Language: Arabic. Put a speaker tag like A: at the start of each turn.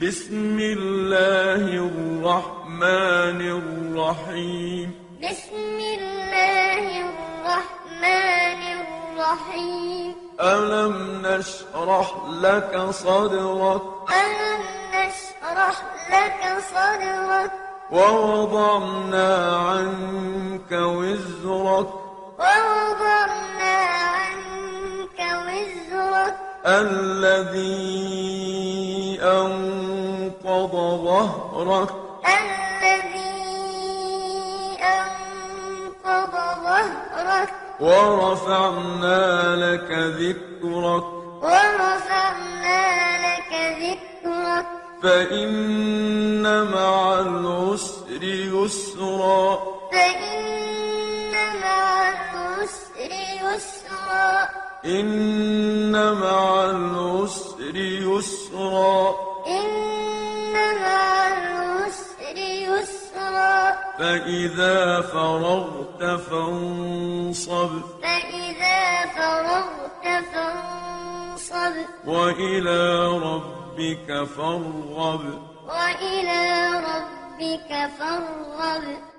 A: بسم الله الرحمن الرحيم
B: بسم الله الرحمن الرحيم
A: ألم نشرح لك صدرك
B: ألم نشرح لك صدرك
A: ووضعنا عنك وزرك
B: ووضعنا عنك وزرك الذي
A: أنقض ظهرك
B: الذي أنقض ظهرك
A: ورفعنا لك ذكرك
B: ورفعنا لك ذكرك
A: فإن مع العسر يسرا
B: فإن مع العسر يسرا
A: إن مع العسر يسرا
B: إن مع العسر يسرا
A: فإذا فرغت فانصب
B: فإذا فرغت فانصب
A: وإلى ربك فارغب
B: وإلى ربك فارغب